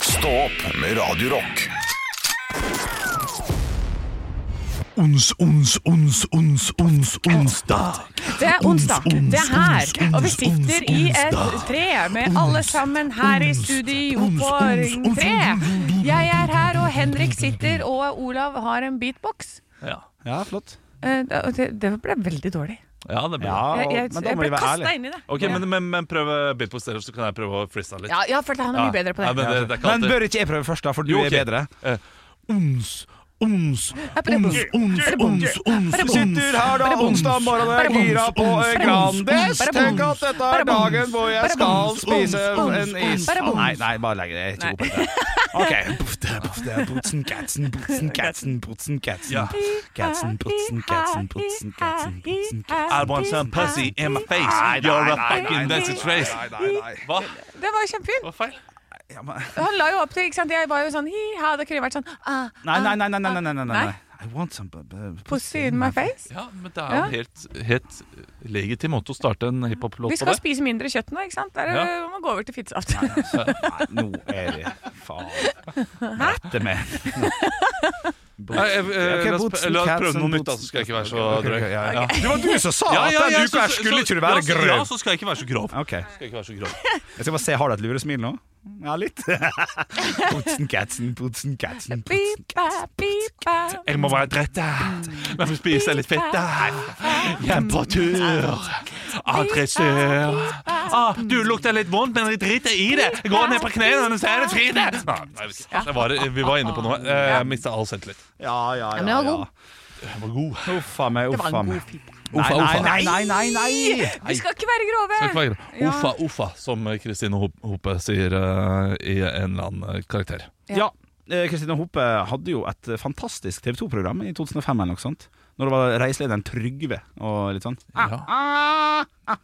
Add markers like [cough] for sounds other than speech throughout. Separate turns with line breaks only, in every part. Stå opp med Radio Rock.
Ons, ons, ons, ons, ons, onsdag.
Det er onsdag.
Ons, ons,
Det er her.
ons, ons,
Og vi sitter
ons,
i et
onsdag.
tre med alle sammen her i studio på Ring 3. Jeg er her, og Henrik sitter, og Olav har en beatbox.
Ja,
Ja, flott.
Eh, og Det det ble veldig dårlig.
ja det blir det.
Ja,
Jeg, jeg,
men da
jeg
må
ble
de være
kasta
ærlige.
inn i det.
Ok, men, men, men prøv eh, beatbox dere, så kan jeg prøve å freestyle litt.
Ja, ja, for han er mye bedre på
Nei,
det.
men det, det er ikke
Men
alltid.
bør ikke jeg prøve først, da, for du
Jo, ok.
er bedre?
Eh,
Ons, ons, ons, ons, ons, ons,
Du sitter her da onsdag morgen og er gira på eh, Grandis. Tenk at dette er dagen hvor jeg skal spise en is. Ah, Nei, nei, bare legg det. Jeg er ikke god på
[laughs]
dette. Ok. Bufte, bufte, Butsen, katsen, butsen, katsen, butsen,
Ja.
katsen. Katsen, butsen, katsen, butsen, katsen, butsen, katsen.
I want some pussy in my face. You're a fucking message race.
Nei, nei, nei.
Hva?
Det var jo kjempefint.
Hva feil?
Ja, men-
Han la jo opp til ikke sant? Jeg var jo sånn hi-ha. Det kunne vært sånn ah,
Nei, nei,
ah,
nei, nei, nei, nei, nei, nei.
Nei?
I want some bu- bu-
Pussy in my face.
Ja, men det er jo en helt, helt legitim måte å starte en hiphop-låt
Vi
på
skal
det.
spise mindre kjøtt nå, ikke sant? Der,
Ja.
eh, må gå over til fittesaft.
Nei, nå er det faen Dette med
Nei, eh, eh,
Ok,
la oss
Boots
pr-
and
La oss
cats
prøve
and
noe nytt, da,
boots.
så skal jeg ikke være så
Ok, ok,
drøy.
ja, ja.
Ja.
Det var du som sa
Ja,
at
ja,
den
ja,
uka her skulle ikke du være
ja, så-
grøv.
Ja, så skal jeg ikke være så grov.
Ok, Jeg
Skal jeg ikke være så grov.
skal bare se, har du et luresmil nå? Ja, litt. [laughs] Putsen, katsen, putsen, katsen.
[laughs] Pipa, pipa.
Jeg må være drett Men får spise litt fett Temperatur Adressør ah, Du lukter litt vondt, men jeg driter i det Jeg går ned på knene og så er det fri det Nei, jeg vet ikke. Det var, Vi var inne på noe Eh, Jeg mistet all selvtillit
Ja, ja,
men det var
ja.
god.
Jeg var god
ja. Uffa meg,
Det var
uffa
en god
meg.
fitte.
Nei,
Uffa, uffa.
nei, nei, nei, nei.
Vi skal ikke være grove.
Takk for det.
Ja.
Uffa, uffa, som Kristine Hop- Hoppe sier eh, i en eller annen karakter
Ja, eh, Kristine Hoppe hadde jo et eh, fantastisk TV 2-program i 2005 eller noe sånt. Når det var reiselederen Trygve og litt sånn.
ja.
ah,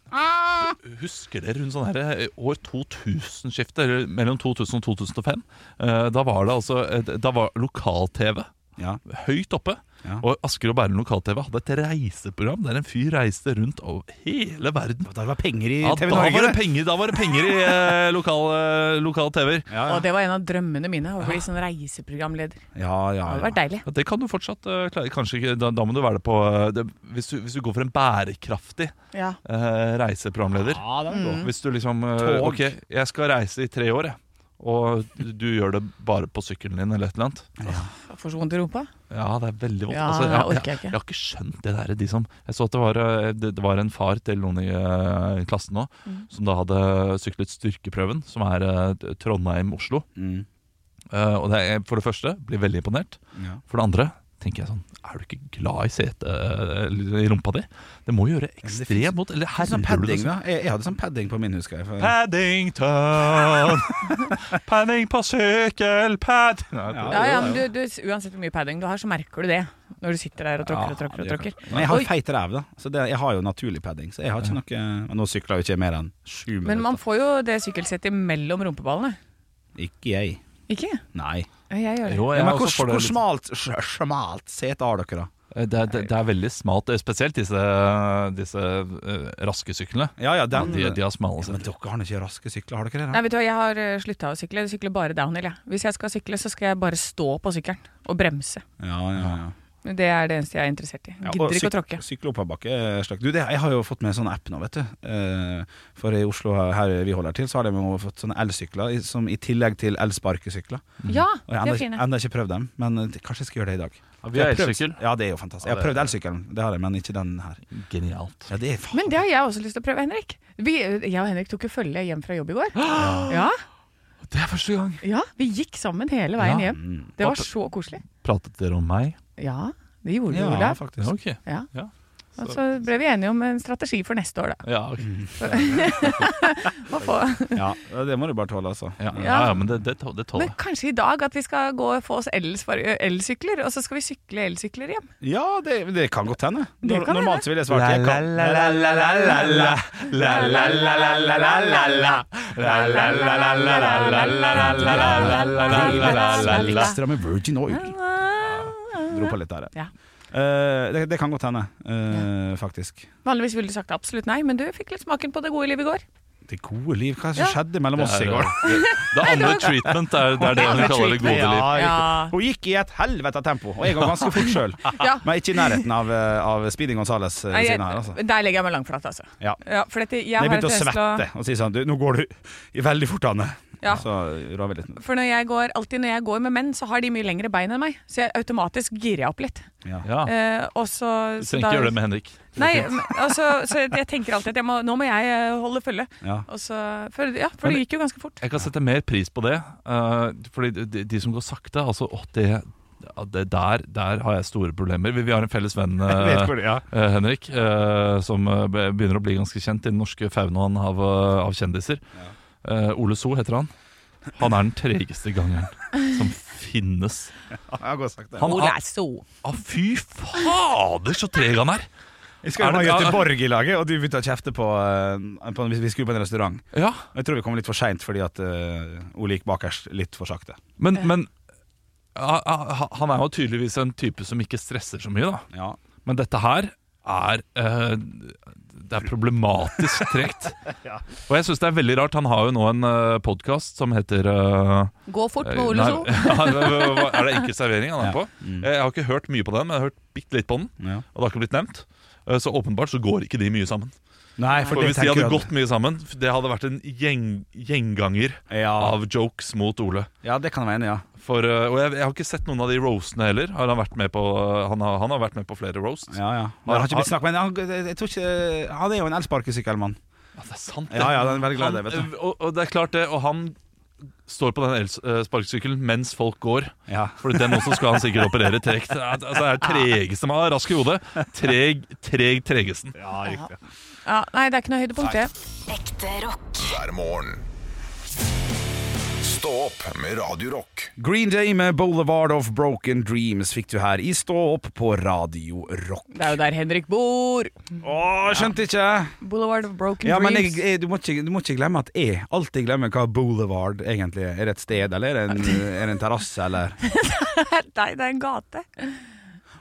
Husker dere rundt sånn her eh, år 2000-skiftet eller Mellom 2000 og 2005 Eh, Da var det altså eh, Da var lokal-TV
Ja.
høyt oppe.
Ja.
Og Asker og Bærum lokal-TV hadde et reiseprogram der en fyr reiste rundt over hele verden.
Da var det penger i
Ja, da,
TV
var det
Norge. det.
penger, da var det penger i eh, lokal, eh, lokal TV-er.
Ja,
Og det var en av drømmene mine, å bli sånn reiseprogramleder. Det
ja, ja,
hadde
ja.
vært deilig.
Ja, det kan du fortsatt eh, klare. Kanskje ikke, da, da må du være det på eh, det, hvis, du, hvis du går for en bærekraftig
Ja.
eh, reiseprogramleder
Ja, den er god.
Hvis du liksom eh,
Mm. Tog.
Ok, jeg skal reise i tre år, jeg. Og du, du gjør det bare på sykkelen din, eller et eller annet.
Får så vondt i rumpa.
Ja, det er veldig vondt.
Ja, det
jeg,
orker jeg ikke.
Jeg, har ikke skjønt det der. De som, jeg så at det var, eh, det, det var en far til noen i eh, klassen nå, som da hadde syklet styrkeprøven, som er eh, Trondheim-Oslo.
Mm.
Eh, og det er, for det første blir veldig imponert.
Ja.
For det andre tenker jeg sånn Er du ikke glad i setet eh, eller i rumpa di? Det må gjøre
finnes-
ekstremt vondt. Eller
Sånn
herrer du det
padding,
sånn?
da. Jeg, jeg hadde sånn padding på min, husker jeg. For, [laughs]
Paddington! Padding på sykkel, pad... Nei,
Ja,
Ja,
det
ja,
var
men
det.
du, du, uansett hvor mye padding du har, så merker du det når du sitter der og tråkker og tråkker. og
Ja, det
tråkker
Men jeg har
Oi.
feit ræv, da. Så det, jeg har jo naturlig padding. Så jeg har ikke noe Men nå sykler jeg jo ikke mer enn sju minutter.
Men man får jo det sykkelsettet mellom rumpeballene.
Ikke jeg.
Ikke?
Nei.
Ja, Jeg gjør det.
Jo, jeg
Ja, men
også
hvor,
får det
hvor
litt-
smalt, sj- smalt sete har dere, da?
Eh, Det er, det, det er veldig smalt, eh, spesielt disse, disse eh, raske syklene.
Ja ja,
Ja,
den
de, de har smale
Men
seter.
dere har nå ikke raske sykler, har dere det?
Nei, vet du hva, jeg har slutta å sykle. Jeg sykler bare downhill. Jeg. Hvis jeg skal sykle, så skal jeg bare stå på sykkelen og bremse.
da? Ja, ja, ja.
Det er det eneste jeg er interessert i.
Ja, og
Gidder ikke å
syk-
tråkke.
Sykle oppoverbakke. eh, slakt. Du, det, jeg har jo fått med en sånn app nå, vet du. Eh, For i Oslo, her vi holder til, så har de jo fått sånne elsykler i- som i tillegg til elsparkesykler.
Ja,
Og jeg
de
har
er fine.
ennå ikke prøvd dem, men eh, kanskje jeg skal gjøre det i dag.
vi har
Jeg prøvd-
elsykkel.
Ja, det er jo fantastisk. Jeg har prøvd elsykkelen, det har jeg, men ikke den her.
Genialt.
Ja, det er faen.
Men det har jeg også lyst til å prøve, Henrik. Vi, jeg og Henrik tok jo følge hjem fra jobb i går. Ja,
Det er første gang.
ja Vi gikk sammen hele veien
Ja.
hjem. Det var så koselig.
Pratet dere om meg?
Ja, det gjorde vi,
Ja,
Olav.
faktisk.
ok.
Ja.
Ja.
Og så ble vi enige om en strategi for neste år, da.
Ja, ok.
Å få-
Ja, det må du bare tåle, altså.
ja. ja.
Ja.
ja men det, det, tå- det tåler
Men
jeg.
kanskje i dag at vi skal gå og få oss elspar- elsykler, og så skal vi sykle elsykler hjem.
Ja, det, det kan godt hende.
Det
Nor-
kan hende.
normalt så ville jeg svart jeg kan. Ekstra med virgin oil. Dro på litt der,
Ja.
Eh, det, det kan godt hende, eh, faktisk.
Vanligvis ville du sagt absolutt nei, men du fikk litt smaken på det gode livet i går.
Det gode liv. Hva er det som
Ja.
skjedde mellom oss i går?
eh, Det andre treatment er, det er
[laughs]
det vi kaller det gode liv.
Ja,
Ja.
riktig. [laughs] Hun gikk i et helvete tempo, og jeg går ganske fort sjøl.
Ja.
Men ikke i nærheten av, eh, av Speedy Gonzales eh,
Nei,
ved
jeg,
siden av her, altså.
der legger jeg meg langflat, altså.
Ja.
Ja, for dette, jeg
Men jeg
har
begynte å
en tendens til
svette og si sånn du, Nå går du i veldig fort, Anne.
Ja.
Så roer vi litt ned.
For når jeg går, alltid når jeg går med menn, så har de mye lengre bein enn meg. Så jeg automatisk girer jeg opp litt.
Ja.
Ja.
Eh, og så,
Du
så
trenger
da-
ikke gjøre det med Henrik.
Nei, men, altså, så jeg tenker alltid at jeg må, nå må jeg eh, holde følge.
Ja.
Og så, for, ja, for det gikk jo ganske fort.
Jeg kan sette mer pris på det. eh, fordi de- de, de som går sakte Altså, åh, det, ja, det der, der har jeg store problemer. Vi, vi har en felles
[laughs]
venn, eh,
Jeg vet hvor det ja.
eh, Henrik, eh, som eh, be- begynner å bli ganske kjent i den norske faunaen av, eh, av kjendiser. Eh, Ole So heter han. Han er den tregeste gangeren som finnes.
Jeg går sakte.
Han,
Hvor
han,
er så?
ah, fy fader, så treg han er!
Vi skal
Er
jo ha
det-
Göteborg i laget, og du begynte å kjefte på, eh, på Vi skulle på en restaurant.
Ja,
Jeg tror vi kom litt for seint fordi at eh, Ole gikk bakerst litt for sakte.
men, men ah, ah, han er jo tydeligvis en type som ikke stresser så mye, da.
Ja.
Men dette her er eh, Det er problematisk
[laughs]
tregt. Og jeg syns det er veldig rart. Han har jo nå en uh, podkast som heter eh,
Gå fort med Ole
nei,
So.
[laughs] ja, hva- Er det enkel servering han er på? Eh,
Mm.
Jeg har ikke hørt mye på den, men jeg har hørt bitte litt på den.
Ja.
Og det har ikke blitt nevnt. Eh, Så åpenbart så går ikke de mye sammen.
Nei,
For Hvis de hadde gått mye sammen, det hadde vært en gjeng, gjenganger
ja.
av jokes mot Ole.
ja, det kan jeg være enig i, ja.
For, eh, og jeg, jeg har ikke sett noen av de roastene heller. Har han, vært med på, eh, han, har, han har vært med på flere roasts.
Ja, ja. Men jeg har ikke blitt snakket med han, jeg tror ikke, eh, han er jo en elsparkesykkelmann.
Ja, det er sant, det.
Ja, ja, den er veldig glad i det, vet
Han, eh, og, og det er klart det, og han står på den els- eh, sparkesykkelen mens folk går.
du. Ja.
For den også skal han sikkert operere tregt. Altså, det er tregeste man har rask i hodet. Treg, treg tregesten.
Ja, nei, det er ikke noe høydepunkt, det.
Ekte rock.
hver morgen. Stå opp med Radio Rock.
Green Day med 'Boulevard of Broken Dreams' fikk du her i Stå opp på Radio Rock.
Det er jo der Henrik bor.
Å, skjønte ikke!
Boulevard of Broken
Ja, men jeg,
Dreams.
jeg, du, må ikke, du må ikke glemme at jeg alltid glemmer hva boulevard egentlig er. Er det et sted, eller er det en, er det en terrasse, eller
Nei, det er en gate.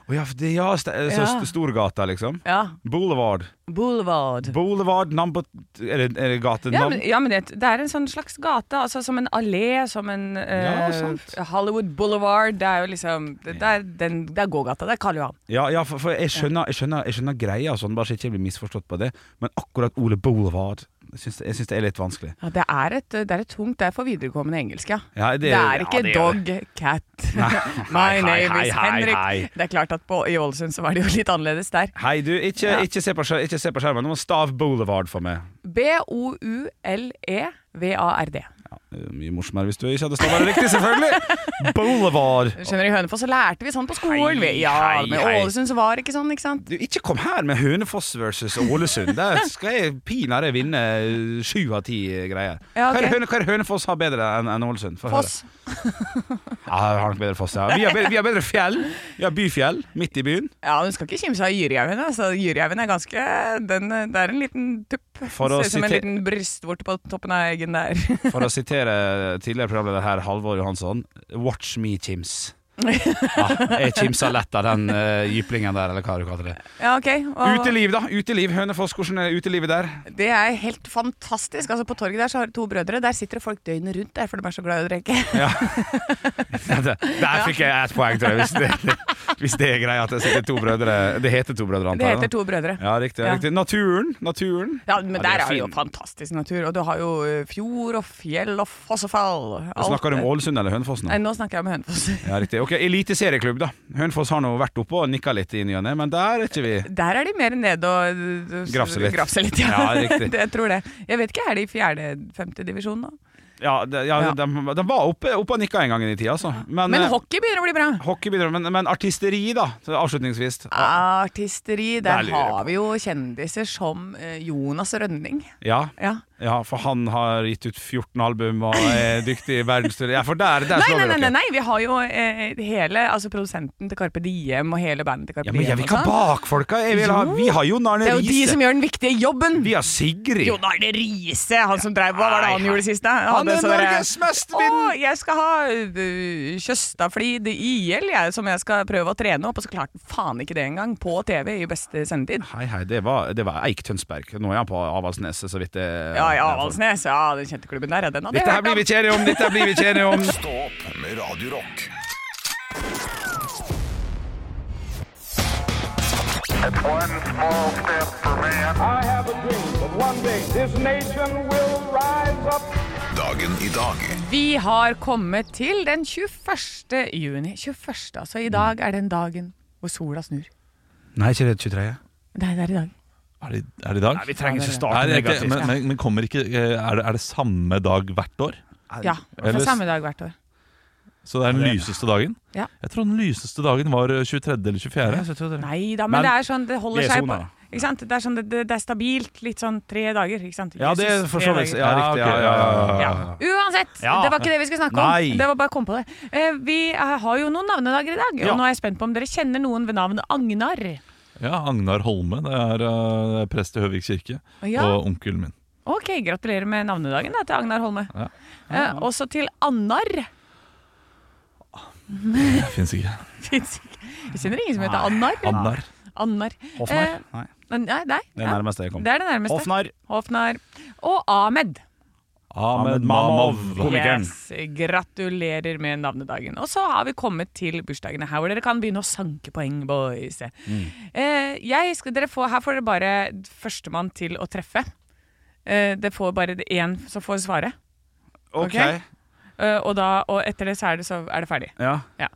Å ja, for det, ja, st så
Ja.
st- Storgata, liksom.
Ja.
Boulevard.
Boulevard.
Boulevard number Er det, er det gatenavn?
Ja, men, ja, men det, det er en sånn slags gate, altså som en allé, som en eh,
sant.
Hollywood Boulevard. Det er jo liksom Det, det, er, den, det er gågata. Det er Karl Johan.
Ja, ja for, for jeg, skjønner, jeg, skjønner, jeg skjønner greia, og sånn, bare så jeg ikke blir misforstått på det. Men akkurat ordet boulevard jeg syns, jeg syns det er litt vanskelig.
Ja, det er et, det er et tungt Det er for videregående engelsk, ja.
Ja,
Det er ikke
ja, det er
dog,
[laughs]
cat. My
hei,
name is
hei, hei,
Henrik.
hei.
Det er klart at på, i Ålesund så var det jo litt annerledes der.
Hei, du, ikke, ikke, se på, skjer- ikke se på skjermen. Du må stave boulevard for meg.
E B-o-u-l-e-v-a-r-d.
Ja, det er mye morsommere hvis du ikke hadde stavet det riktig,
[laughs]
selvfølgelig. Boulevard.
Skjønner I Hønefoss så lærte vi sånn på skolen.
Hei,
Vi- Ja,
hei,
men i
hei.
Ålesund så var det ikke sånn, ikke sant?
Du, ikke kom her med Hønefoss versus Ålesund. Der skal jeg pinadø vinne eh, sju av ti eh, greier.
Ja, ok.
hva, er det Høne, hva er det Hønefoss har bedre enn enn Ålesund? Få høre.
Foss.
Ja, vi har nok bedre foss, ja. Vi har bedre, vi har bedre fjell. Vi har byfjell midt i byen.
Ja, hun skal ikke kimse av Jyrihaugen. Altså, Jyrihaugen er ganske den, Det er en liten tupp.
For å
Ser ut som en
sitere-
liten brystvorte på toppen av eggen der. [laughs]
For å sitere tidligere programleder her, Halvor Johansson, watch me chims. Ah, Ja, jeg kimsa lett av den eh, jyplingen der, eller hva du kaller det.
Ja, ok. Og,
Uteliv, da. Uteliv. Hønefoss, hvordan er utelivet der?
det er helt fantastisk. Altså, på torget der så har du to brødre. Der sitter det folk døgnet rundt der, for de er så glad i å drikke.
[laughs] Der fikk jeg ett poeng, tror jeg, hvis det, hvis det er greia at det sitter to brødre Det heter to
[laughs]
brødre,
Det
antar jeg.
heter
da.
To brødre.
Ja, riktig.
Ja.
riktig. Naturen. naturen
Ja, men
Ja, det
der
er
er det jo
fin.
fantastisk natur. Og du har jo eh, fjord og fjell og fossefall.
Snakker du om Ålesund eller Hønefoss nå?
Nei, nå snakker jeg om Hønefoss.
Ja, riktig. Ok, Eliteserieklubb, da. Hønefoss har nå vært oppe og nikka litt i ny og ne, men der er ikke vi.
[laughs] Der er de mer nede og eh, s-
Grafse litt.
grafse litt ja.
Ja, riktig.
[laughs] det, jeg tror det. Jeg vet ikke, er de i fjerde-femte divisjon nå?
Ja, de, ja,
Ja.
De, de var oppe, oppe og nikka en gang i tida, altså. Men,
Men
eh,
hockey begynner å bli bra.
hockey bidrar, men, men artisteri, da. så Avslutningsvis.
Artisteri.
Der
Der
lurer jeg
har vi jo kjendiser som eh, Jonas Rønning.
Ja.
Ja.
ja, for han har gitt ut 14 album og
[laughs]
er dyktig i verdensturné. Ja, for der, der
Nei,
slår
nei,
vi
nei, nei,
dere.
nei, vi har jo eh, hele altså produsenten til Carpe Diem og hele bandet til Carpe
Ja, men
Diem.
jeg vil
og
ikke ha
sånn.
bakfolka. Jeg vil ha,
Jo.
vi har Jon Arne
det er jo de
Riise.
som gjør den viktige jobben!
Vi har Sigrid.
Jon Arne Riise, han som drev Hva var det han gjorde sist? da? Han
Han
hadde
er
sånn derre-
Norges mest
Å,
vinn...
jeg skal ha øh, Tjøstaflid IL, jeg, som jeg skal prøve å trene opp. Og så klarte han faen ikke det engang, på TV i beste sendetid.
Hei, hei, det var, det var Eik Tønsberg. Nå er han på Avaldsneset, så vidt jeg
Ja, ja, ja, Valsnes. Ja, den kjente klubben der, ja, den hadde jeg
Dette her
hørt
blir vi
om.
ikke enige om, dette her blir vi ikke enige om.
Stå opp med Radio Rock.
I have a dream that one day this nation will rise up.
Dagen i dag
Vi har kommet til den 21. juni. 21. Altså, i dag er den dagen hvor sola snur.
Nei, ikke det 23.
Nei, det er i dag.
Er det, er det i dag?
Nei, vi trenger ikke
Nei, det
starte
er ikke,
negativt.
men, men, men kommer ikke eh, er det, er det samme dag hvert år?
Ja. Det er
Ellers-
samme dag hvert år.
Så det er den lyseste dagen?
Ja.
Jeg tror den lyseste dagen var eh, 23. eller 24.
Nei da,
Men
men det er sånn, det holder
vi er
seg på
sona,
ikke sant? Det er sånn, det, det er stabilt, litt sånn tre dager, ikke sant?
Ja, det er
Jesus,
for
tre
så vidt.
dager.
Ja, riktig. Ja, ja, ja, ja.
Ja. Uansett,
Ja.
det var ikke det vi skulle snakke om.
Nei.
Det var bare å komme på det. Eh, Vi eh, har jo noen navnedager i dag,
Ja.
og nå er jeg spent på om dere kjenner noen ved navn Agnar.
Ja, Agnar Holme. Det er eh, prest i Høvik kirke.
Ja.
Og onkelen min.
Ok, gratulerer med navnedagen da, til Agnar Holme.
Ja.
Eh, Også til Annar.
Det fins ikke.
Fins ikke. Jeg kjenner ingen som heter Annar.
Annar.
Annar.
Hoffnar?
Eh,
Nei.
men- Nei, nei.
Det er
ja.
nærmest det jeg kom.
Det er det nærmeste.
Hoffnar.
Hoffnar. Og Ahmed.
Ahmed
Ahmed
Mamov.
Mamov. Komikeren.
Yes, gratulerer med navnedagen. Og så har vi kommet til bursdagene her, hvor dere kan begynne å sanke poeng, boys.
Mm.
Eh, jeg skal, dere får, her får dere bare førstemann til å treffe. Eh, det får bare det- én som får svare.
Ok.
Ok. Eh, og, da, og etter det så er det, så er det ferdig.
Ja.
Ja.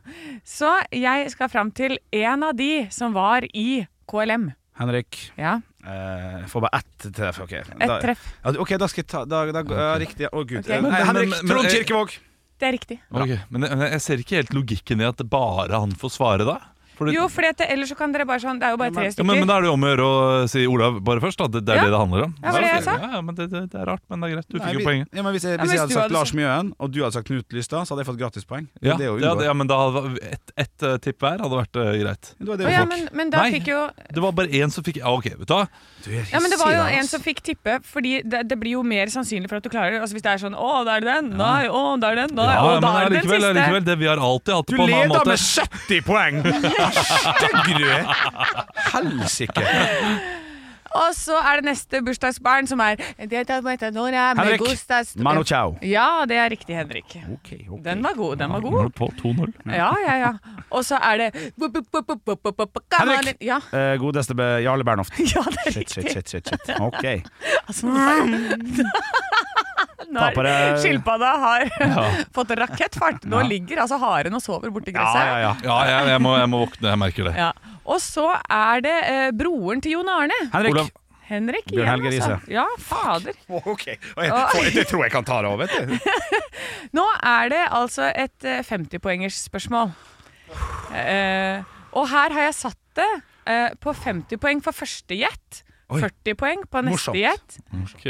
Så jeg skal fram til en av de som var i KLM.
Henrik.
Ja,
Eh, jeg får bare ett treff. ok
Ett treff.
Da, ja, ok, da skal jeg ta da, da, ja, Riktig. Å, gud.
Ok.
Eh,
Men-
nei,
men-
Henrik
men- men-
Trond
eh,
Kirkevåg.
Det er riktig.
Ok, Men jeg, jeg ser ikke helt logikken i at det bare han får svare, da. Fordi-
Jo, for ellers så kan dere bare sånn Det er jo bare tre
ja, men, men
stykker.
da er det jo om å gjøre å si Olav bare først, da. Det, det er
Ja.
det det handler om.
Ja, var det jeg sa?
Ja, ja, men det, det, det er rart, men det er greit. Du
Nei,
fikk jo
vi-
poenget.
Ja, men hvis
Ja,
jeg, hvis
hvis
jeg hadde
du
sagt
hadde
Lars
sagt-
Mjøen, og du hadde sagt Knut Lystad, så hadde jeg fått gratispoeng.
Ja,
Det er jo
ja,
unngår.
det- ja, men da hadde ett et, tipp hver hadde vært eh, greit.
Det var det
Å
vi
ja,
fikk.
men, men da
Nei.
fikk jo
Det var bare én som fikk Ja, OK, vet du hva.
Du er
Ja, men det var jo
hissig,
en
ass.
som fikk tippe, fordi det, det blir jo mer sannsynlig for at du klarer det. Altså Hvis det er sånn 'Å, da er det den', 'Nei, å, da er det den', 'Nei,
Ja,
å,
men
da er det den
allikevel,
siste'.
allikevel, det vi har alltid hatt det
Du
på en annen måte.
leder med 70 poeng! Steggrøt! Helsike.
Og så er det neste bursdagsbarn, som er det tar meg til når jeg er med
Henrik,
Gustavs-
mano ciao.
Ja, det er riktig, Henrik.
Ok, ok.
Den var god, den var
Nå er
god.
det på 2-0.
Ja, ja, ja. Og så er det
Henrik!
Ja, [laughs]
Eh, godeste be- Jarle [laughs] Bernhoft.
ja det er
Shit, shit,
riktig.
shit. shit, shit. Ok.
Altså, nå [laughs]
Ta på
er
deg-
skilpadda
[laughs]
har [laughs] fått rakettfart. Nå ligger altså haren og sover borti
Ja,
gresset.
ja, ja.
Ja, jeg, jeg, må, jeg må våkne, jeg merker det.
Ja. Og så er det eh, broren til Jon Arne.
Henrik.
Olav.
Henrik
Bjørn
igjen,
Helge
altså.
Riise.
Ja, fader.
Ok, og jeg, for- jeg tror jeg kan ta det over, vet du.
Nå er det altså et eh, 50-poengers spørsmål. Eh, og her har jeg satt det eh, på 50 poeng for første gjett, 40 poeng på neste
Morsomt.
gjett,
Ok.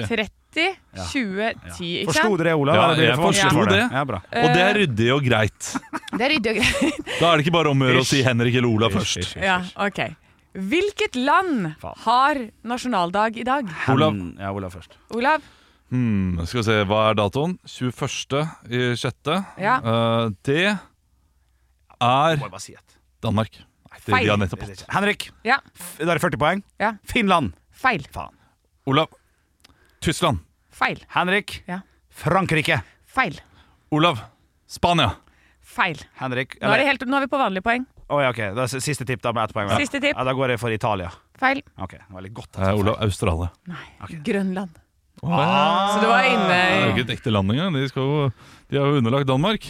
30, 20, 10. Ikke
Forsto
sant?
dere det, Olav?
Ja,
Eller blir
jeg
for vanskelig
forsto
for deg?
det.
Ja, bra.
Og det er ryddig og greit.
Det er ryddig og greit.
Da er det ikke bare om å gjøre å si Henrik eller Olav
Ish,
først.
ish, ish.
Ja, ok. Hvilket land
Faen.
har nasjonaldag i dag?
Olav.
Han- Ja, Olav først.
Olav?
Hmm, skal vi se, hva er datoen? 21. i sjette.
Ja.
Eh, det er
Må jeg bare si et.
Danmark. Nei, det
Feil.
de har nettopp hatt.
Henrik,
Ja.
f- da er det 40 poeng.
ja.
Finland.
Feil.
Faen.
Olav. Tyskland.
Feil.
Henrik.
Ja.
Frankrike.
Feil.
Olav. Spania.
Feil.
Henrik
Nå er, det helt, nå er vi på vanlige poeng.
Å ja, ok. Da er s- siste tipp, da, med ett poeng. hver.
Siste tipp.
Ja, da går jeg for Italia.
Feil.
Ok, det var litt godt. altså.
Eh, Olav, Australia.
Grønland.
Ah,
Så du var
det er jo
inne i
ikke et ekte land engang. De, skal jo, de er jo underlagt Danmark.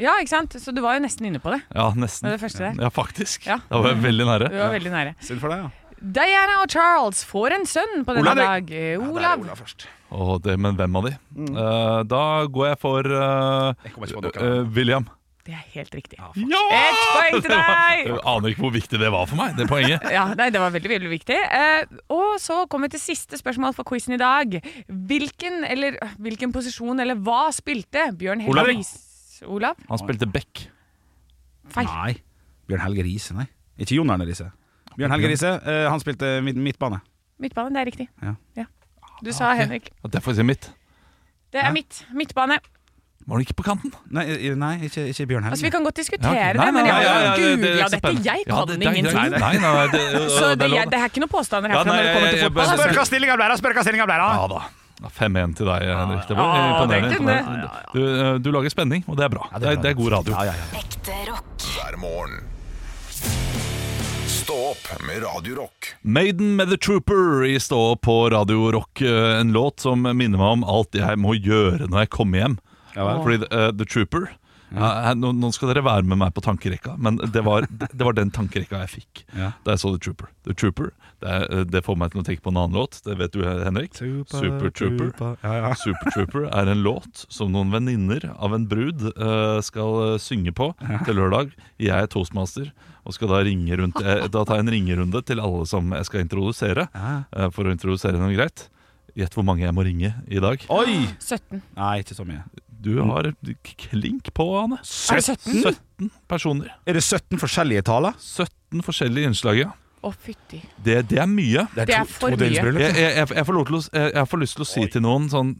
Ja, ikke sant? Så du var jo nesten inne på det.
Ja,
Det
nesten.
var det første der.
Ja, faktisk.
Ja.
Da var jeg veldig nære.
Du var veldig nære.
Synd for deg, ja.
Diana og Charles får en sønn på denne
Olav.
dag. Eh,
Der er
Olav.
Olav først.
Åh, det, men hvem av de?
Mm.
Eh, da går jeg for eh,
Jeg kommer ikke på noe.
eh, William.
Det er helt riktig.
Ja!
Ett poeng til deg!
Jeg aner ikke hvor viktig det var for meg, det poenget.
Ja, nei, Det var veldig veldig viktig. Eh, og så kommer vi til siste spørsmål for quizen i dag. Hvilken eller øh, hvilken posisjon eller hva spilte Bjørn
Olav.
Helge Riis- Olav?
Han spilte back.
Feil.
Nei. Bjørn Helge Riise, nei. Ikke Jon Arne Riise. Bjørn Helge Riise, eh, han spilte mid midtbane.
Midtbane. Det er riktig.
Ja.
Du sa Henrik.
Ja, Det får jeg si mitt.
Det er midt. Midtbane.
Var han ikke på kanten?
Nei, i- nei ikke, ikke Bjørn Helge.
Altså, Vi kan godt diskutere
Ja, ok.
det, men jeg har
ja, ja,
jo
ja, det- det er
googla
ikke
dette.
spennende.
Jeg
Ja,
kan
det- det- det-
ingenting.
Nei, nei, nei det,
[laughs] Så det,
er lov.
jeg, det er ikke noen påstander
Ja,
herfra
nei,
når det kommer til
jeg- jeg- jeg-
fotball.
jeg-
Spør hva stillinga ble, da! Spør hva stillinga ble, da!
Ja da. Ja, 5-1 til deg, Henrik. Det var
Ja,
imponerende.
det kunne-
imponerende. Du, eh, du lager spenning, og det er bra. det, er, det er god radio.
Ja, ja, ja.
Ekte rock.
hver morgen. Stå opp med Radio Rock.
Maiden med The Trooper i Stå opp på Radio Rock. eh, En låt som minner meg om alt jeg må gjøre når jeg kommer hjem. Fordi eh, The Trooper ja, nå, nå skal dere være med meg på tankerekka, men det var, det var den tankerekka jeg fikk
Ja.
da jeg så The Trooper. The Trooper det, er, eh, det får meg til å tenke på en annen låt. Det vet du, Henrik. Super Trooper. Super Trooper er en låt som noen venninner av en brud eh, skal eh, synge på til lørdag. Jeg er toastmaster og skal da, ringe rundt, eh, da ta en ringerunde til alle som jeg skal introdusere. eh, for å introdusere noe greit. Gjett hvor mange jeg må ringe i dag.
Oi!
17.
Nei, ikke så mye.
Du
Mm.
har k- klink på, Anne.
Er det 17?
17 personer.
Er det 17 forskjellige taler?
17 forskjellige innslag, ja.
Å, fytti.
Det, det er mye.
Det er for mye.
Jeg, jeg, jeg, jeg, får lov til å, s- jeg, jeg får lyst til å si til noen sånn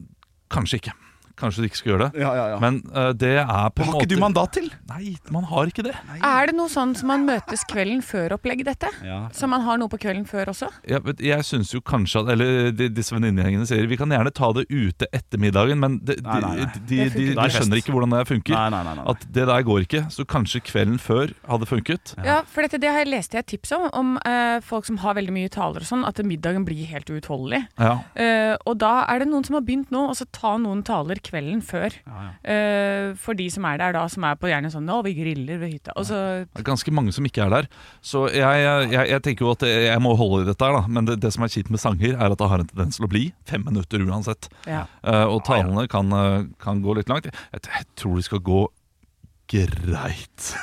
Kanskje ikke. Kanskje du ikke skal gjøre det.
Ja, ja, ja.
Men eh, det er på en
Har
måte
ikke du mandat til?
Nei, man har ikke det.
Er det noe sånn som man møtes kvelden før-opplegg, dette?
Ja.
Så man har noe på kvelden før også?
Jeg, vet- jeg syns jo kanskje at Eller de- disse venninnegjengene sier vi kan gjerne ta det ute etter middagen, men de,
Nei, nei, nei.
De, de,
Det funker
de,
ikke. Det er
skjønner
fest.
ikke hvordan det funker.
Nei, nei, nei, nei, nei.
At det der går ikke. Så kanskje kvelden før hadde funket.
Ja, for dette, det har jeg leste jeg et tips om, om eh, folk som har veldig mye taler og sånn, at middagen blir helt uutholdelig.
Ja.
Eh, og da er det noen som har begynt nå, og så ta noen taler kvelden før. Eh, for de som er der da, som er på gjerne sånn 'Å, vi griller ved hytta', og så
Det er ganske mange som ikke er der. Så jeg, jeg, jeg tenker jo at jeg må holde i dette her, da. Men det, det som er kjipt med sanger, er at det har en tendens til å bli fem minutter uansett.
Ja.
Eh, og talene kan, eh, kan gå litt langt. Jeg, jeg tror det skal gå greit.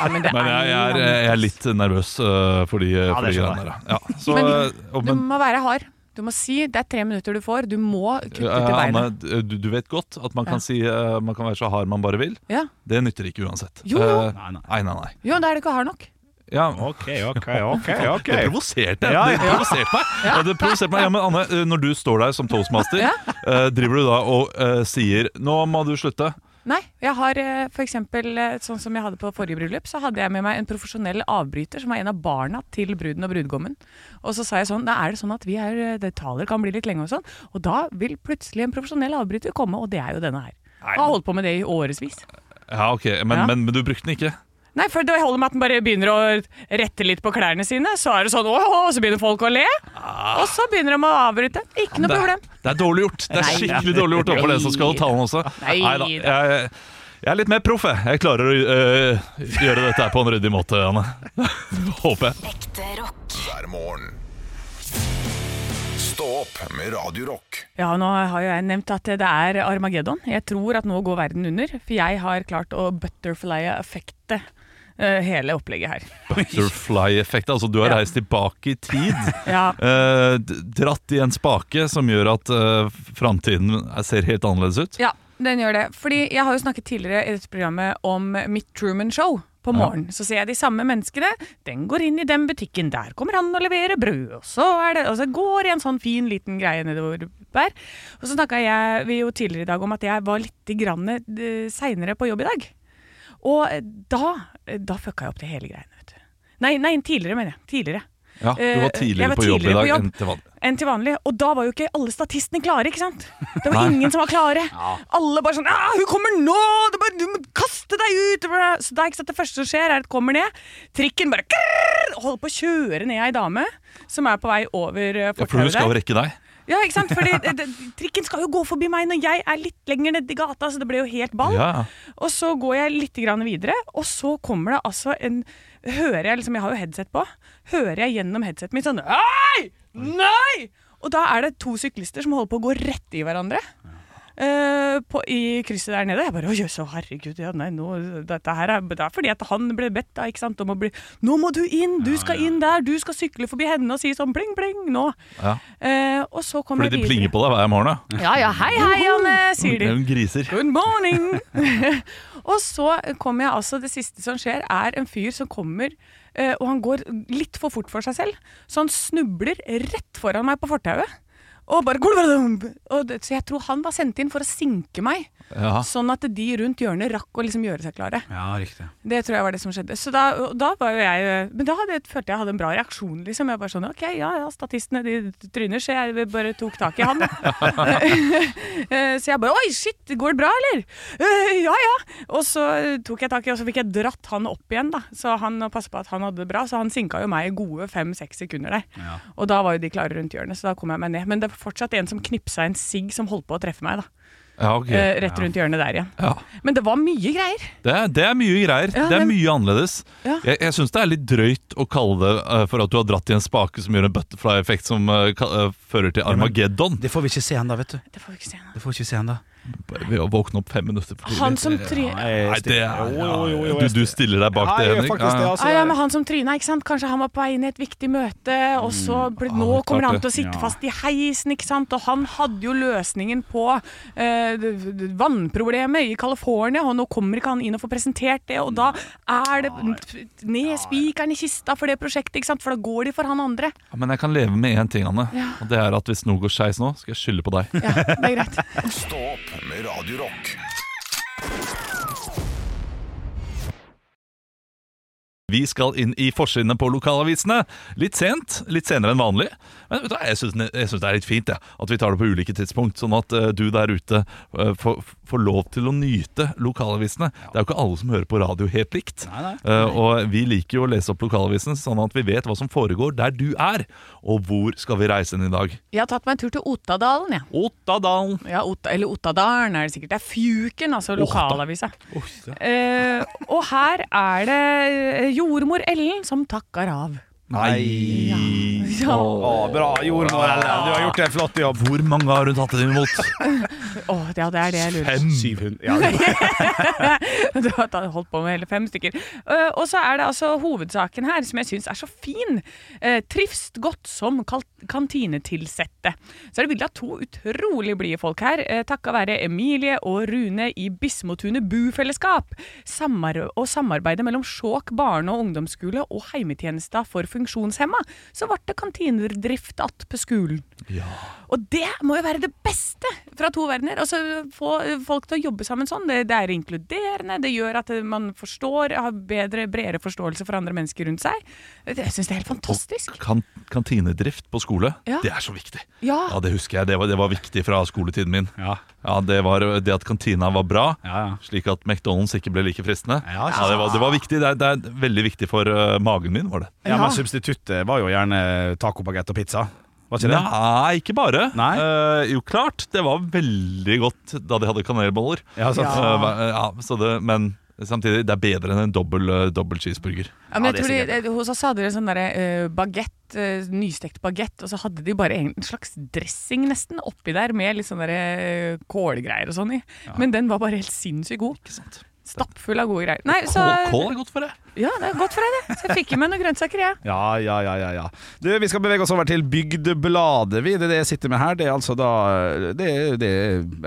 ja, men det
[laughs] Men jeg, jeg, er, eh, jeg er litt nervøs eh, for de
Ja,
for de
det skjønner
greiene der. ja. Ja. Så,
Men-
eh, og-
Du
men,
må være hard. Du må si 'det er tre minutter du får', du må kutte
eh,
til
Anne,
beinet.
du, du vet godt at man
Ja.
kan si eh, man kan være så hard man bare vil.
Ja.
Det nytter ikke uansett.
Jo, jo.
Eh,
Nei, nei.
nei, nei, nei.
Jo, da er du ikke hard nok.
Ja,
Ok, ok, ok. ok
Det provoserte jeg.
Ja, ja.
Det provoserte meg. Ja, det provoserte meg. Ja, men Anne, eh, når du står der som toastmaster, eh, driver du da og eh, sier 'nå må du slutte'?
Nei, jeg har eh, for eksempel eh, sånn som jeg hadde på forrige bryllup, så hadde jeg med meg en profesjonell avbryter som var en av barna til bruden og brudgommen. Og så sa jeg sånn, da er det sånn at vi er, eh, det taler kan bli litt lenge og sånn, og da vil plutselig en profesjonell avbryter komme, og det er jo denne her. Jeg har holdt på med det i årevis.
Ja, ok, men,
Ja.
men, men du brukte den ikke.
Nei, for det holder med at den bare begynner å rette litt på klærne sine, så er det sånn, åh, og så begynner folk å le, og så begynner de å avbryte. Ikke noe
Ah. Det,
problem.
det er dårlig gjort. Det er
Nei.
skikkelig dårlig gjort overfor den som skal holde talen også.
Nei.
Neida, Jeg, jeg er litt mer proff, jeg. Jeg klarer å eh, gjøre dette her på en ryddig måte, Anne. [laughs] Håper jeg.
Ekte rock.
hver morgen. Stå opp med Radio Rock.
Ja, nå har jo jeg nevnt at det er Armageddon. Jeg tror at nå går verden under, for jeg har klart å butterfly-effekte eh, hele opplegget her.
Butterfly-effekt. Altså, du har
Ja.
reist tilbake i tid.
[laughs] Ja,
Eh, d- dratt i en spake som gjør at uh, framtiden ser helt annerledes ut.
ja den gjør det. Fordi jeg har jo snakket tidligere i dette programmet om mitt Truman Show. På morgenen så ser jeg de samme menneskene. Den går inn i den butikken. Der kommer han og leverer brød. Og så er det, og så går det en sånn fin, liten greie nedover der. Og så snakka jeg- vi jo tidligere i dag om at jeg var litt grann eh, seinere på jobb i dag. Og da, eh, da fucka jeg opp det hele greiene. Vet du. Nei, nei, tidligere, mener jeg. Tidligere.
Ja, du
Eh,
var tidligere
jeg var
på jobb
tidligere
i dag
på jobb.
enn til vanlig.
enn til vanlig. Og da var jo ikke alle statistene klare, ikke sant? Det var ingen som var klare. Alle bare sånn «Ah, 'Hun kommer nå! Du, bare, du må kaste deg ut!' Så da, ikke sant, det første som skjer, er at det kommer ned. Trikken bare krrr, holder på å kjøre ned ei dame som er på vei over eh,
Ja, for du
fortauet
skal jo
der.
rekke deg.
Ja, ikke sant? Fordi eh, det, trikken skal jo gå forbi meg når jeg er litt lenger nedi gata, så det ble jo helt ball.
Ja.
Og så går jeg litt grann videre, og så kommer det altså en Hører jeg liksom, jeg har jo headset på, hører jeg gjennom headsetet mitt sånn Nei! Nei! Og da er det to syklister som holder på å gå rett i hverandre. eh, på, I krysset der nede. Jeg bare Å jøss, å, herregud. Ja, nei, nå, dette her er, det er fordi at han ble bedt da, ikke sant, om å bli Nå må du inn! Du skal inn der! Du skal sykle forbi henne og si sånn pling, pling nå.
Ja.
Eh, og så kommer
Fordi de plinger på deg hver morgen. da.
Ja, ja. Hei, hei, Anne, sier de.
Det er jo griser.
Good morning! [laughs] og så kommer jeg altså Det siste som skjer, er en fyr som kommer eh, Og han går litt for fort for seg selv, så han snubler rett foran meg på fortauet. Og bare «Gulvadum!» og det, Så jeg tror han var sendt inn for å sinke meg.
Ja.
Sånn at de rundt hjørnet rakk å liksom gjøre seg klare.
Ja, riktig.
Det tror jeg var det som skjedde. Så da, og da var jo jeg Men da hadde jeg, følte jeg hadde en bra reaksjon, liksom. Jeg bare sånn OK, ja ja, statistene de tryner, så jeg bare tok tak i han. [laughs] Eh, så jeg bare Oi, shit, går det bra, eller? «Eh, ja ja. Og så tok jeg tak i, og så fikk jeg dratt han opp igjen, da. Så han passa på at han hadde det bra. Så han sinka jo meg i gode fem-seks sekunder der.
Ja.
Og da var jo de klare rundt hjørnet, så da kom jeg meg ned. Men det var fortsatt en som knipsa en sigg som holdt på å treffe meg, da.
Ja, ok.
Eh, rett rundt hjørnet der igjen.
Ja.
Men det var mye greier.
Det er, det er mye greier.
Ja,
det er
men-
mye annerledes.
Ja.
Jeg, jeg syns det er litt drøyt å kalle det eh, for at du har dratt i en spake som gjør en butterfly-effekt som eh, ka- eh, fører til Armageddon.
Det får vi ikke se igjen da, vet du.
Det får vi ikke se nå.
Det får vi ikke se igjen da.
Ved å våkne opp fem minutter for tidlig.
Han som tryna
Nei, det er,
Jo, jo, jo, jo, jeg-
du, du stiller deg bak
Ja,
det,
jeg gjør
Henrik.
faktisk det,
Ja,
altså.
ah, ja, men han som tryna, ikke sant? Kanskje han var på vei inn i et viktig møte, og så ble,
Ah,
nå
klart
kommer han
det.
til å sitte
Ja.
fast i heisen, ikke sant? Og han hadde jo løsningen på eh, d- d- vannproblemet i California, og nå kommer ikke han inn og får presentert det, og da er det ned spikeren i kista for det prosjektet, ikke sant? For da går de for han andre.
ja, men jeg kan leve med én ting, Anne.
Ja.
Og det er at hvis noe går skeis nå, skal jeg skylde på deg.
Ja, det er greit.
Stå opp med Radio Rock.
Vi skal inn i forsidene på lokalavisene. Litt sent, litt senere enn vanlig. Men vet du, hva, jeg syns jeg synes det er litt fint jeg, at vi tar det på ulike tidspunkt, sånn at eh, du der ute eh, får, får lov til å nyte lokalavisene. Det er jo ikke alle som hører på radio helt likt.
Nei, nei.
Eh, og vi liker jo å lese opp lokalavisen, sånn at vi vet hva som foregår der du er. Og hvor skal vi reise inn i dag?
Jeg har tatt meg en tur til Ottadalen, jeg.
Ottadalen!
Ja, Otta, eller Ottadalen er det sikkert. Det er Fjuken, altså lokalavisa. Eh, og her er det eh, jordmor Ellen som takker av.
Nei!
Ja.
Å, bra, jordmor Ellen. Du har gjort en flott jobb.
Hvor mange har hun tatt det imot?
Åh, ja, det er det jeg lurer på.
700. [laughs] Ja, det var-
[laughs] Du har tatt- holdt på med hele fem stykker. Eh, og så er det altså hovedsaken her, som jeg syns er så fin. Eh, trivs godt som kal- kantinetilsette. Så er det bilde av to utrolig blide folk her, eh, takka være Emilie og Rune i Bismotunet bufellesskap. Samar og samarbeidet mellom Skjåk barne- og ungdomsskole og heimetjenesta for funksjonshemma, så ble det kantinedrift att på skolen. Og det må jo være det beste fra to verdener. Altså, få folk til å jobbe sammen sånn. Det, det er inkluderende, det gjør at man forstår, har bedre, bredere forståelse for andre mennesker rundt seg. Jeg syns det er helt fantastisk.
Kan, kantinedrift på skole,
Ja.
det er så viktig.
Ja.
det husker jeg. Det var, det var viktig fra skoletiden min.
Ja.
det var det at kantina var bra,
Ja, ja.
slik at McDonald's ikke ble like fristende.
Ja, ikke sant.
det, var, det var viktig. Det er, det er veldig viktig for eh, magen min, var det.
ja, men substituttet var jo gjerne tacobagett og pizza. Var ikke det?
Nei, ikke bare.
Nei?
Eh, jo, klart. Det var veldig godt da de hadde kanelboller.
Ja, sant.
Eh, hva- eh, ja, så det, men samtidig, det er bedre enn en dobbel, eh, dobbel cheeseburger.
Ja, men
Ja,
jeg
det er
tror de, eh, Hos oss hadde de sånn derre eh, bagett, eh, nystekt bagett, og så hadde de bare en slags dressing nesten oppi der med litt sånn derre eh, kålgreier og sånn i. Men den var bare helt sinnssykt god.
Ikke sant?
Stappfull av gode greier. Nei, så,
Kål, kål er godt for det.
ja, det er godt for deg, det. Så jeg fikk i meg noen grønnsaker, jeg.
Ja, ja, ja, ja, ja. Du, Vi skal bevege oss over til Bygdebladet. Vi, det er det jeg sitter med her, det er altså da Det er, det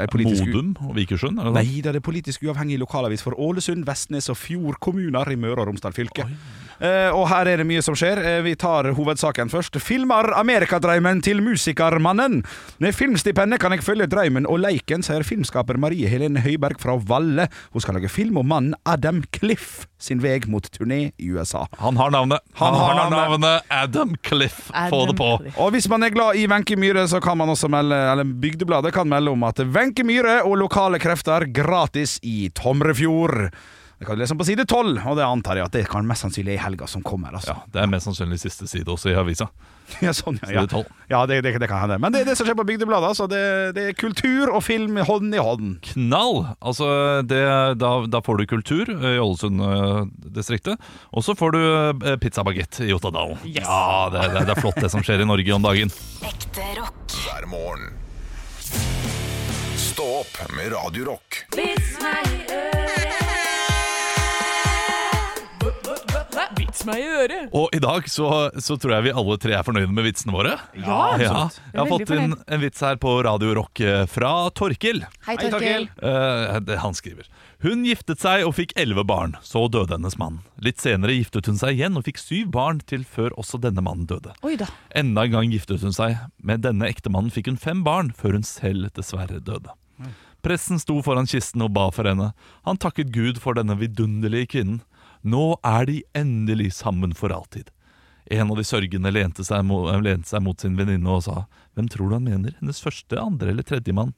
er politisk
Modum og Vikersund. Er det
Nei, det er det politisk uavhengig lokalavis for Ålesund, Vestnes og Fjord kommuner i Møre og Romsdal fylke. Eh, og her er det mye som skjer. Eh, vi tar hovedsaken først. Filmer amerikadreimen til musikermannen. Med filmstipendet kan jeg følge dreimen og leiken, sier filmskaper Marie Helene Høiberg fra Valle. Hun skal lage film om mannen Adam Cliff sin vei mot turné i USA.
Han har navnet. Han,
Han
har,
har
navnet. Adam Cliff. Få
Adam
det på.
Cliff.
Og hvis man er glad i Wenche Myhre, så kan man også melde Eller Bygdebladet kan melde om at Wenche Myhre og lokale krefter gratis i Tomrefjord. Det kan du lese om på side 12, og det antar jeg at det kan mest sannsynlig er i helga som kommer. altså.
Ja, det er mest sannsynlig siste side også i avisa.
[laughs] Ja, sånn, ja,
Side 12.
ja det, det, det kan hende. Men det er det som skjer på Bygdebladet. altså. Det, det er kultur og film hånd i hånd.
Knall! Altså, det, da, da får du kultur eh, i Ålesund-distriktet. Og så får du eh, pizzabagett i Ottadalen. Ja, det, det, det er flott det som skjer i Norge om dagen.
Ekte rock.
hver morgen. Stå opp med Radio Rock.
Vits meg i øret.
Og i dag så, så tror jeg vi alle tre er fornøyde med vitsene våre.
Ja, absolutt.
Jeg har
Veldig
fått inn en vits her på Radio Rock eh, fra Torkil.
Hei, Torkil.
Eh, det- han skriver Hun giftet seg og fikk elleve barn. Så døde hennes mann. Litt senere giftet hun seg igjen og fikk syv barn til før også denne mannen døde.
Oi da.
Enda en gang giftet hun seg. Med denne ektemannen fikk hun fem barn før hun selv dessverre døde. Presten sto foran kisten og ba for henne. Han takket Gud for denne vidunderlige kvinnen. Nå er de endelig sammen for alltid. En av de sørgende lente seg mot, lente seg mot sin venninne og sa Hvem tror du han mener? Hennes første, andre eller tredje mann?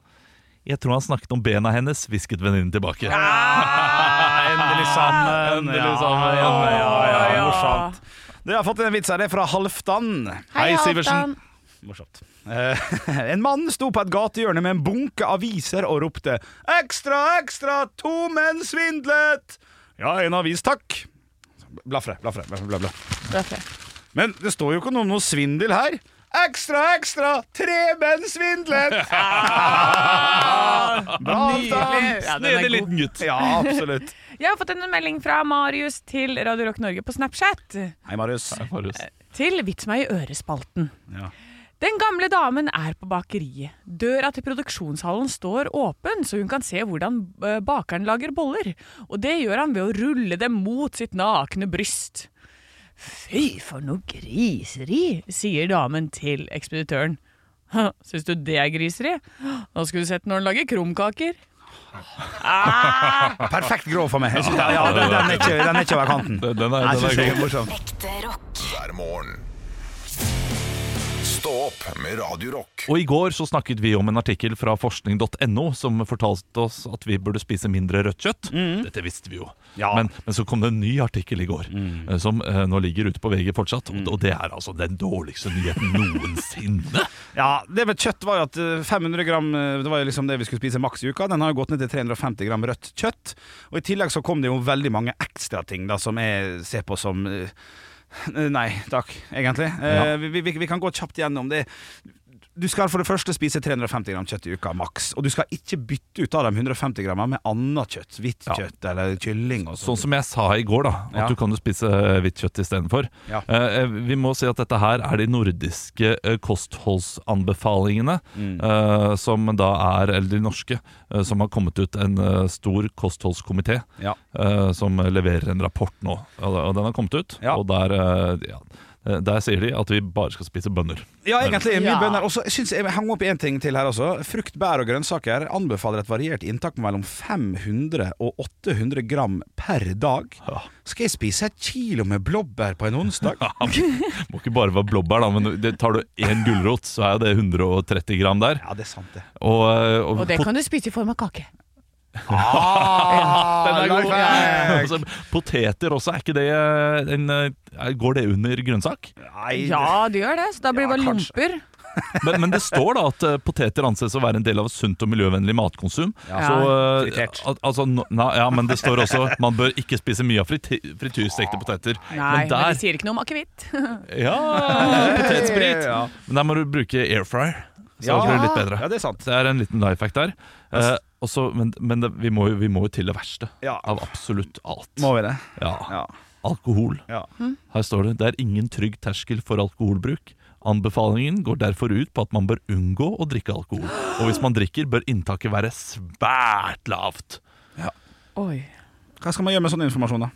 Jeg tror han snakket om bena hennes, hvisket venninnen tilbake.
Endelig sammen.
Endelig sammen. Ja,
ja, ja.
Morsomt. Du, jeg har fått en vits her det er fra Halvdan.
Hei,
Sivertsen.
Halvdan.
Morsomt. Eh, [laughs] en mann sto på et gatehjørne med en bunke aviser og ropte 'Ekstra, ekstra, to menn svindlet!' 'Ja, en avis, takk.' Blafre, blafre, bla, bla.
Det er tre.
Men det står jo ikke noe om noe svindel her. Ekstra, ekstra, tre menn svindlet!
[laughs]
Bra, Halvdan.
Ja, den er
Snedig
god.
liten gutt.
Ja, absolutt.
Jeg har fått en melding fra Marius til Radio Rock Norge på Snapchat.
Hei, Marius.
Marius.
Til Vits meg i ørespalten.
Ja.
Den gamle damen er på bakeriet. Døra til produksjonshallen står åpen, så hun kan se hvordan eh, bakeren lager boller. Og det gjør han ved å rulle dem mot sitt nakne bryst. Fy, for noe griseri, sier damen til ekspeditøren. «Hå, Syns du det er griseri? Nå skulle du sett når han lager krumkaker.
Perfekt grov for meg. Ja, ja, den, den, er ikke, den er ikke over kanten.
Den den er,
Jeg
den
synes
er
jeg
god.
er morsom.
Ekte rock.
hver morgen. Stå opp med Radio Rock.
Og i går så snakket vi om en artikkel fra forskning.no som fortalte oss at vi burde spise mindre rødt kjøtt. Dette visste vi jo.
Mm. Ja. Mm.
Men, men så kom det en ny artikkel i går, eh, som eh, nå ligger ute på VG fortsatt. Og, og det er altså den dårligste nyheten
[laughs]
noensinne.
Ja, det med kjøtt var jo at eh, 500 gram eh, Det var jo liksom det vi skulle spise maks i uka. Den har jo gått ned til 350 gram rødt kjøtt. Og i tillegg så kom det jo veldig mange ekstra ting da som jeg ser på som eh, Nei takk, egentlig. Eh, Vi, vi, vi kan gå kjapt gjennom det. Du skal for det første spise 350 gram kjøtt i uka maks. Og du skal ikke bytte ut av de 150 grammene med annet kjøtt. Hvitt
Ja.
kjøtt eller kylling. Og
Sånn som jeg sa i går, da. At
Ja.
du kan jo spise eh, hvitt kjøtt istedenfor.
Ja.
Eh, vi må si at dette her er de nordiske eh, kostholdsanbefalingene
Mm.
eh, som da er Eller de norske, eh, som har kommet ut en eh, stor kostholdskomité.
Ja.
eh, som leverer en rapport nå. Og og den har kommet ut,
Ja.
og der, eh, ja, eh, der sier de at vi bare skal spise bønner. [laughs]
Ja, egentlig. Mye
Ja.
bønner. Og så synes jeg jeg hang opp en ting til her også. Frukt, bær og grønnsaker anbefaler et variert inntak på mellom 500 og 800 gram per dag.
Ja.
Skal jeg spise et kilo med blåbær på en onsdag?
Må ikke bare være blåbær, da, men det tar du én gulrot, så er jo det 130 gram der.
Ja, det er sant, det.
Og, eh, og
Og det
pot-
kan du spise i form av kake.
Ah, den er god.
[laughs] altså, poteter også, er ikke det eh, en, eh, Går det under grønnsak?
Nei,
Ja, du gjør det, så da blir det
Ja,
bare
kanskje.
lomper.
Men, men det står da at eh, poteter anses å være en del av et sunt og miljøvennlig matkonsum.
Ja.
Så, eh,
Fritert.
al- altså, no- nei, ja, men det står også man bør ikke spise mye av friti frityrstekte poteter.
Nei, men,
der-
de sier ikke noe om akevitt. [laughs]
[laughs] Ja, potetsprit.
Ja.
Men der må du bruke air fryer. Så
Ja.
blir det litt bedre.
Ja, det er sant.
Det er en liten life hack der. Eh, også, men men det, vi, må jo, vi må jo til det verste
Ja.
av absolutt alt.
Må vi det?
Ja.
Ja.
Alkohol.
ja.
Her står det det er ingen trygg terskel for alkoholbruk. Anbefalingen går derfor ut på at man bør unngå å drikke alkohol. Og hvis man drikker, bør inntaket være svært lavt.
Oi.
Hva skal man gjøre med sånn informasjon, da?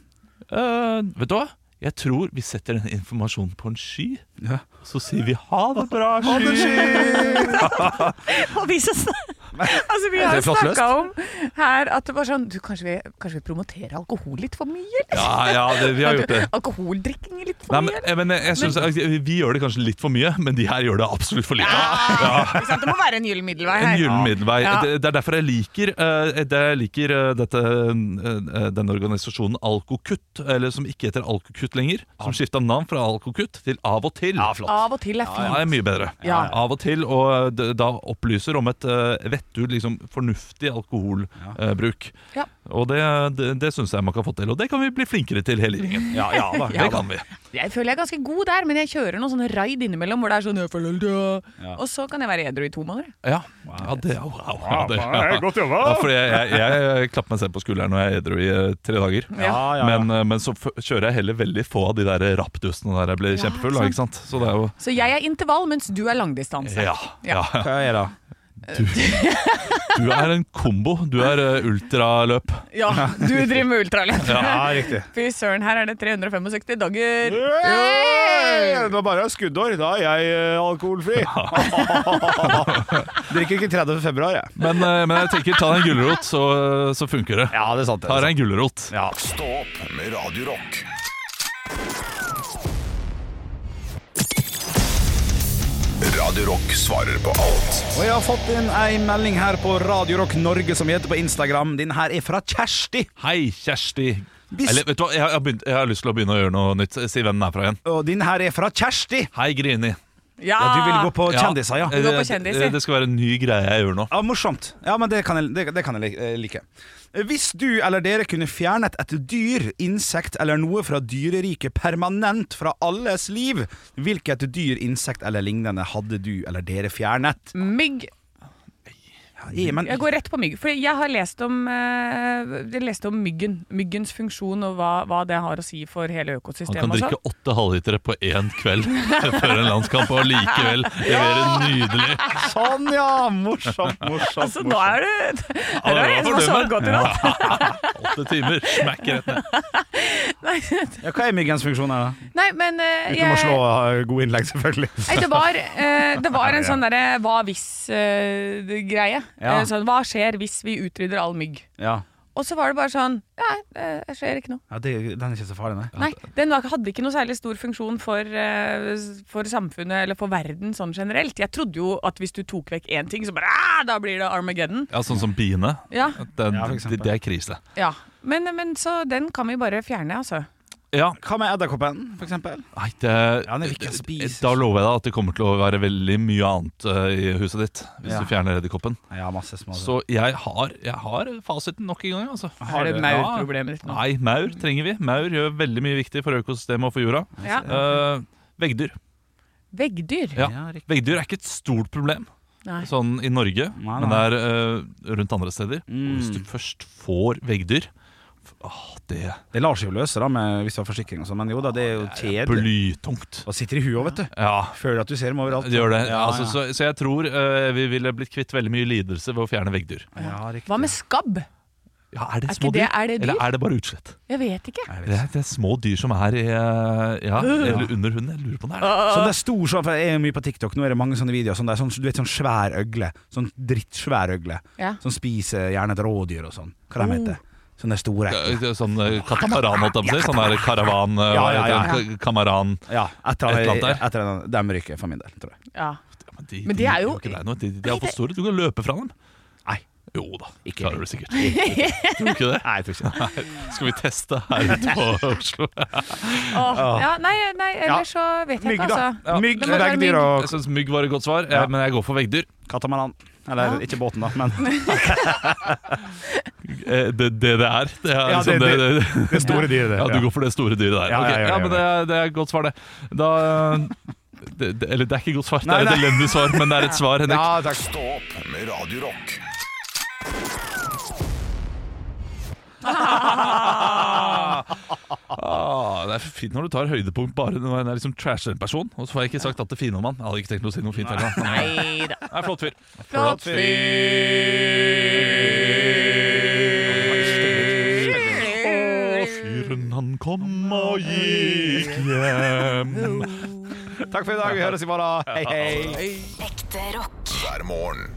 Eh, vet du hva? Jeg tror vi setter den informasjonen på en sky.
Ja.
Så sier vi ha det bra, sky.
Og vi som snak- [laughs] Altså, vi har
Det er flott
snakka om her at det var sånn du, kanskje, vi, kanskje vi promoterer alkohol litt for mye? Eller?
Ja, ja, det, vi har gjort det.
Alkoholdrikking litt for
Nei,
mye?
men,
Eller?
jeg, men eh, jeg synes, Vi gjør det kanskje litt for mye, men de her gjør det absolutt for lite.
Ah, Ikke sant? Det må være en gyllen middelvei
En
her.
gyllen middelvei.
Ja.
Det, det er derfor jeg liker, eh, det jeg liker eh, dette, eh, denne organisasjonen Alkokutt, eller som ikke heter Alkokutt lenger, som skifta navn fra Alkokutt til Av og til.
Ja, flott.
Av og til er
Ja,
fint.
det er mye bedre.
Ja.
Av og til, og eh, d- da opplyser om et uh, vettug, liksom, fornuftig alkoholbruk.
Ja.
Og det, det, det syns jeg man kan få til, og det kan vi bli flinkere til hele gjengen.
Ja, ja da.
Det kan vi.
Jeg føler jeg er ganske god der, men jeg kjører noen sånne raid innimellom hvor det er sånn jeg føler det. Og så kan jeg være edru i to måneder.
Ja, ja det, wow, ja, det
Godt jobba.
Ja, fordi jeg, jeg, jeg klapper meg selv på skulderen når jeg er edru i eh, tre dager.
Ja, ja, ja.
Men, eh, men så f kjører jeg heller veldig få av de der rappdustene der jeg blir kjempefull. da, Ikke sant? Så det er jo
Så jeg er intervall, mens du er langdistanse.
ja, ja.
Hva er det?
Du er en kombo. Du er eh, ultraløp.
Ja, du
[laughs]
driver med ultraløp.
Ja, riktig.
Fy søren, her er det 365 dager.
Hey! Det var bare skuddår. Da er jeg eh, alkoholfri. [laughs] Drikker ikke 30. februar, jeg.
Men, eh, men jeg tenker, ta deg en gulrot, så, så funker det.
Ja, det er sant. det
Ta
er sant.
deg en gulrot.
Ja.
Stå opp med Radio Rock. Radio Rock svarer på alt
Og jeg har fått inn ei melding her på Radio Rock Norge som heter på Instagram. Din her er fra Kjersti.
Hei, Kjersti.
Hvis-
Eller, vet du hva? Jeg, har begynt, jeg har lyst til å begynne å gjøre noe nytt. Si hvem den er fra igjen.
Og din her er fra Kjersti.
Hei, Grini.
Ja,
Ja, du vil gå på kjendiser, ja.
Eh,
går på
det-
kjendiser.
Det skal være en ny greie jeg gjør nå.
Ja, morsomt. Ja, men det kan jeg, det, det kan jeg li- eh, like. Hvis du eller dere kunne fjernet et dyr, insekt eller noe fra dyreriket permanent fra alles liv, hvilket dyr, insekt eller lignende hadde du eller dere fjernet?
Mygg.
Ja, men,
Jeg går rett på mygg. For jeg har lest om, eh, jeg leste om myggen. Myggens funksjon og hva, hva det har å si for hele
Han
økosystemet.
kan
og sånn.
drikke åtte halvlitere på én kveld [laughs] før en landskamp og likevel levere nydelig
[laughs] sånn, ja! Morsomt, morsomt.
Altså, da er det Her er det en som har sovet
fordømme.
godt i natt.
åtte timer. Smack rett ned.
Ja, hva er myggens funksjon her, da?
Nei, men eh,
Uten å
jeg,
slå eh, gode innlegg, selvfølgelig.
Nei, det var, eh, det var en sånn derre hva eh, hvis-greie.
Ja.
sånn, hva skjer hvis vi utrydder all mygg?
[laughs] Ja,
Og så var det bare sånn Nei, det skjer ikke noe.
ja det, Den er ikke så farlig, nei.
Nei, Den var- hadde ikke noe særlig stor funksjon for, eh, for samfunnet eller for verden sånn generelt. Jeg trodde jo at hvis du tok vekk én ting, så bare ah, Da blir det Armageddon.
Ja, sånn som biene.
Ja,
Den,
Ja, for
det,
eksempel.
det er krise.
ja. Men, men så den kan vi bare fjerne, altså.
Ja,
Hva med edderkoppen, for eksempel?
nei, det,
Ja, den vil ikke jeg spise.
Da lover jeg deg at det kommer til å være veldig mye annet eh, i huset ditt hvis
Ja.
du fjerner edderkoppen.
Ja, masse små
Så jeg har, jeg har fasiten nok en gang. Altså.
Er det maurproblemet ditt nå?
Nei, maur trenger vi. Maur gjør veldig mye viktig for økosystemet og for jorda.
Ja.
Eh, veggdyr.
Veggdyr.
Ja.
Ja, riktig.
Veggdyr er ikke et stort problem
Nei.
sånn i Norge,
Nei, Mm.
men det
nei.
er eh, rundt andre steder. Og hvis du først får veggdyr f- Åh, det er
Det lar seg jo løse da, med, hvis du har forsikring og sånn, men jo da, det er jo kjedelig.
blytungt.
Og sitter i huet, vet du.
Ja,
Føler at du ser dem overalt.
det gjør det.
Ja,
altså,
ja.
så, så jeg tror eh, vi ville blitt kvitt veldig mye lidelse ved å fjerne veggdyr.
Ja, riktig.
Hva med skabb?
Ja, er det
Er
små
ikke det-
dyr?
er det dyr?
Eller er det bare utslett?
Jeg vet ikke.
Jeg vet
Det
ikke.
er, det er små dyr som er i, eh, ja,
Øh.
eller under hunden. Jeg lurer på om det er det.
Så det er stor sånn, for jeg er jo mye på TikTok, nå er det mange sånne videoer. Sånn, det er sånn, du vet sånn svær øgle. Sånn drittsvær øgle.
Ja.
Som spiser gjerne et rådyr og sånn. Hva de
Oh.
heter Sånne store.
Eh,
Øh.
det er Sånn eh, katamaran, holdt jeg på å si. Sånn der karavan eh,
Ja,
hva
ja,
heter den? Ka- Kamaran.
Ja, etter
Et eller annet der.
etter at de ryker for min del, tror jeg.
Ja.
Ja, men de,
Men
de
det er
gjør
jo-
ikke deg noe. De, de er for store. Du kan løpe fra dem.
Nei.
Jo da,
Ikke
klarer du sikkert.
[laughs]
Tror du ikke det?
Nei, jeg tror ikke det.
Skal vi teste her ute på Oslo?
Åh, ja nei, nei, ellers så vet jeg
Mygg,
ikke,
da.
altså.
Ja. Mygg,
Det må være mygg.
veggdyr og
Jeg syns mygg var et godt svar, eh, men jeg går for veggdyr.
katamaran. Eller ikke båten, da, men
Eh, Det det, det er. Det er
Ja,
liksom
det-
det, det,
det store dyret der.
Ja, du går for det store dyret der.
Ja,
Ok,
jeg gjør
ja,
det, jeg
men
gjør
det, er- det er et godt svar, det. Da [laughs] det, det, Eller det er ikke et godt svar, det
Nei,
er et
nei.
elendig svar, men det er et [laughs] svar, Henrik.
Ja, takk.
Stå opp med Radio Rock
Ah, det er fint når du tar høydepunkt bare når en er liksom trasher en person. Og så får jeg ikke sagt at det fine om han. Jeg hadde ikke tenkt å si noe fint heller. han. Han er-
Neida.
han er en flott fyr.
Flott
Og fyren han kom og gikk hjem.
takk for i dag. Vi høres i morgen. Hei, hei.
Ekte rock.
hver morgen.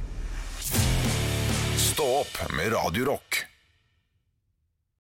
Stå opp med Radio Rock.